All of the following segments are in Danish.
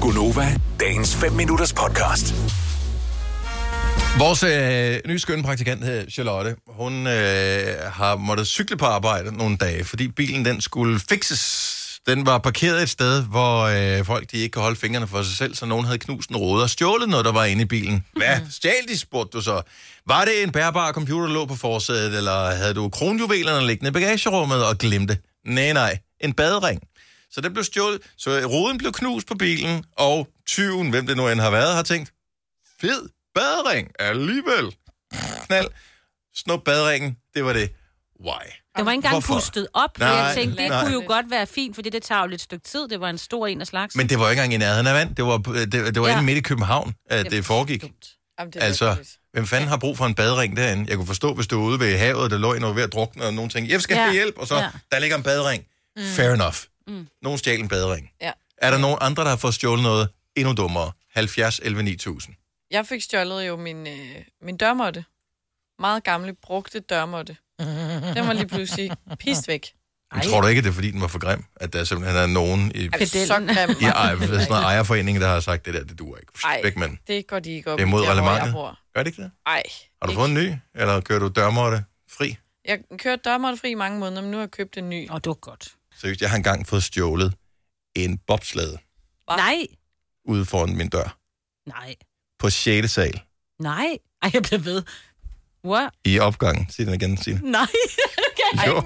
Gunova, dagens 5 minutters podcast. Vores øh, nye skønne praktikant hedder Charlotte. Hun øh, har måttet cykle på arbejde nogle dage, fordi bilen den skulle fixes. Den var parkeret et sted, hvor øh, folk de ikke kan holde fingrene for sig selv, så nogen havde knust en rode og stjålet noget, der var inde i bilen. Hvad? Stjal de, spurgte du så. Var det en bærbar computer, der lå på forsædet, eller havde du kronjuvelerne liggende i bagagerummet og glemte? Nej, nej. En badering. Så den blev stjålet, så ruden blev knust på bilen, og tyven, hvem det nu end har været, har tænkt, fed badring alligevel. Knald. Snup badringen. Det var det. Why? Det var ikke engang Hvorfor? pustet op, for Nej, jeg tænkte, det nej. kunne jo godt være fint, fordi det tager jo lidt stykke tid. Det var en stor en af slags. Men det var jo ikke engang i nærheden af vand. Det var, øh, det, det var ja. Ja. inde midt i København, at øh, det foregik. Dumt. Jamen, det er Altså, rigtigt. hvem fanden har brug for en badring derinde? Jeg kunne forstå, hvis du var ude ved havet, der lå en og var ved at drukne, og nogen tænkte, jeg skal Ja. have hjælp, og så, Ja. der ligger en badring. Mm. Fair enough. Mm. Nogen stjal en badring. Ja. Er der nogen andre, der har fået stjålet noget endnu dummere? 70 11 9000. Jeg fik stjålet jo min, øh, min dørmåtte. Meget gamle, brugte dørmåtte. Den var lige pludselig pist væk. Men Tror du ikke, at det er, fordi den var for grim? At der simpelthen er nogen i, Altså, så Pedellen. grim. i var ej, den sådan en ejerforening, der har sagt, det der, det duer ikke. Ej. Pst, Væk med den. Det går de ikke op Det er mod i, der, hvor jeg reglementet. bor. Gør det ikke det? Ej. Har du ikke. fået en ny, eller kører du dørmåtte fri? Jeg kørte dørmåtte fri i mange måneder, men nu har jeg købt en ny. Åh, det var godt. Seriøst, jeg har engang fået stjålet en bobslade Hva? Nej, ude foran min dør nej, på 6. sal nej. Ej, jeg bliver ved. What? i opgangen. Sig den igen, Signe. Nej. okay. Jo.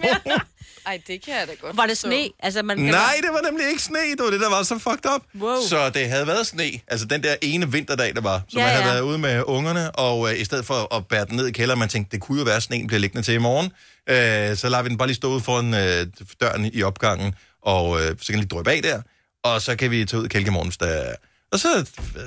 Ej, det kan jeg da godt Var det forstå. sne? Altså, man, kan- Nej, det var nemlig ikke sne, det var det, der var så fucked up. Wow. Så det havde været sne, altså den der ene vinterdag, der var, så Ja, man havde ja. været ude med ungerne, og øh, i stedet for at bære den ned i kælderen, man tænkte, det kunne jo være, at sneen bliver liggende til i morgen, øh, så lader vi den bare lige stå ude foran øh, døren i opgangen, og øh, så kan den lige drøbe af der, og så kan vi tage ud og kælke i morgen, hvis der er- og så,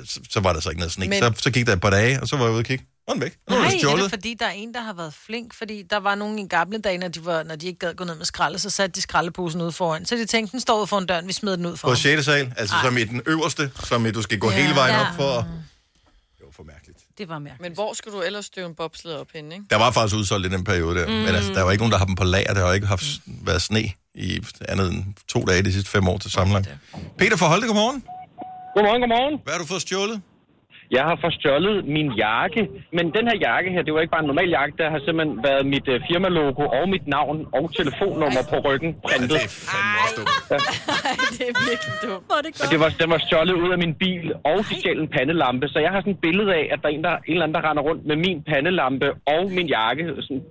så, så var der så ikke noget sne. Men... Men- Så, så gik der et par dage, og så var jeg ude og kigge. Nu er den væk. Nu er Nej, den er stjålet. det fordi, der er en, der har været flink? Fordi der var nogen i gamle dage, når de, var, når de ikke gad gå ned med skralde, så satte de skraldeposen ude foran. Så de tænkte, den står ude foran døren, vi smider den ud for På ham. 6. sal, altså Ej. som i den øverste, som i, du skal gå ja. hele vejen op Ja. for. Det var for mærkeligt. det var mærkeligt. Men hvor skulle du ellers støve en bobsled op henne, ikke? Der var faktisk udsolgt i den periode der, mm. men altså, der var ikke nogen, der har dem på lager. Der har ikke haft været sne i andet end to dage de sidste fem år til sammenlagt. Peter for Holte, godmorgen. Godmorgen, godmorgen. Hvad har du fået stjålet? Jeg har forstjålet min jakke, men den her jakke her, det var ikke bare en normal jakke, der har simpelthen været mit uh, firmalogo og mit navn og telefonnummer på ryggen printet. fandme også dumt. Ej, det er virkelig dumt. Hvor er det Og godt. det var, den var stjålet ud af min bil, og de stjal en pandelampe, så jeg har sådan et billede af, at der er en, der, en eller anden, der render rundt med min pandelampe og min jakke, sådan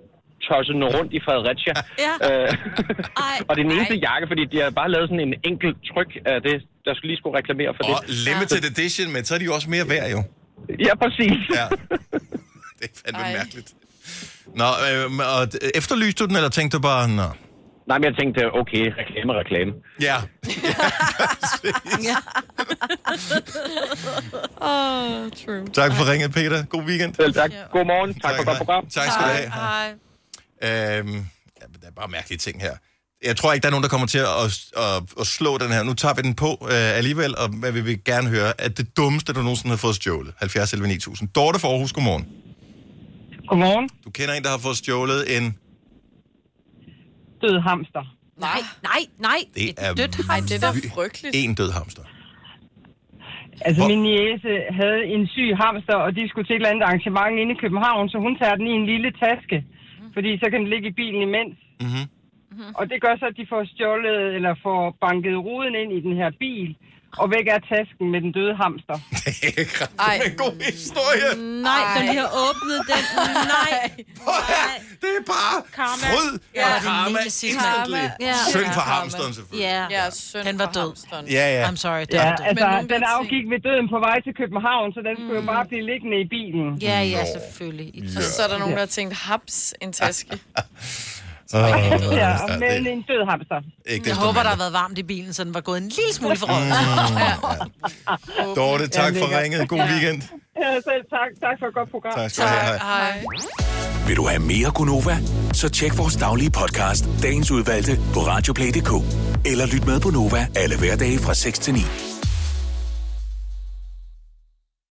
tossende rundt i Fredericia. Ja. Øh, Ej, og det er den eneste ej. jakke, fordi de har bare lavet sådan en enkelt tryk af det, der skulle lige skulle reklamere for det. Og limited edition, men så er de jo også mere værd jo. Ja, præcis. Ja. Det er fandme Ej. Ej. mærkeligt. Nå, øh, men, og d- efterlyste du den, eller tænkte du bare, nå? Nej, men jeg tænkte, okay, reklame, reklame. Ja. Åh, oh, true. Tak for ringet, Peter. God weekend. Selv tak. Godmorgen. Tak, tak for hej. godt program. Tak skal du have. Hej. Ej. Øhm, ja, men der er bare mærkelige ting her. Jeg tror ikke, der er nogen, der kommer til at, at, at, at slå den her. Nu tager vi den på øh, alligevel, og men vi vil gerne høre, at det dummeste, du nogensinde har fået stjålet. 70 11 9000. Dorte fra Aarhus, godmorgen. Godmorgen. Du kender en, der har fået stjålet en... Død hamster. Nej, nej, nej. Det Et er dødt vildt. hej. Det er da frygteligt. En død hamster. Altså, Hvor- min niece havde en syg hamster, og de skulle til et eller andet arrangement inde i København, så hun tager den i en lille taske, Mhm. fordi så kan den ligge i bilen imens. Mhm. Og det gør så, at de får stjålet, eller får banket ruden ind i den her bil, og væk er tasken med den døde hamster. Det er ikke ret- Ej. det er en god historie. Nej, når de har åbnet den. Nej. Det er bare Karma. fryd Ja. og karma. Lille sidste. Instantly. Ja. Synd for Karma. hamsteren, selvfølgelig. Ja. Ja, søn Den var for død. hamsteren. Ja, ja. I'm sorry, den Ja, er død. altså, Men nogen den vil Mhm. afgik ved døden på vej til København, så den skulle jo bare blive liggende i bilen. Ja, ja, selvfølgelig. I Og så er der nogen, der har tænkt, haps, en taske. Ja, Ja, med det er en død hamster. ikke Jeg desto håber, der mindre. har været varmt i bilen, så den var gået en lille smule for rød. Dorte, tak Ja, for lækkert. ringet. God weekend. Ja, selv tak. Tak for et godt program. Tak skal du have. Hej. Hej. Vil du have mere Gunova? Så tjek vores daglige podcast, dagens udvalgte, på radioplay.dk. Eller lyt med på Nova alle hverdage fra 6 til 9.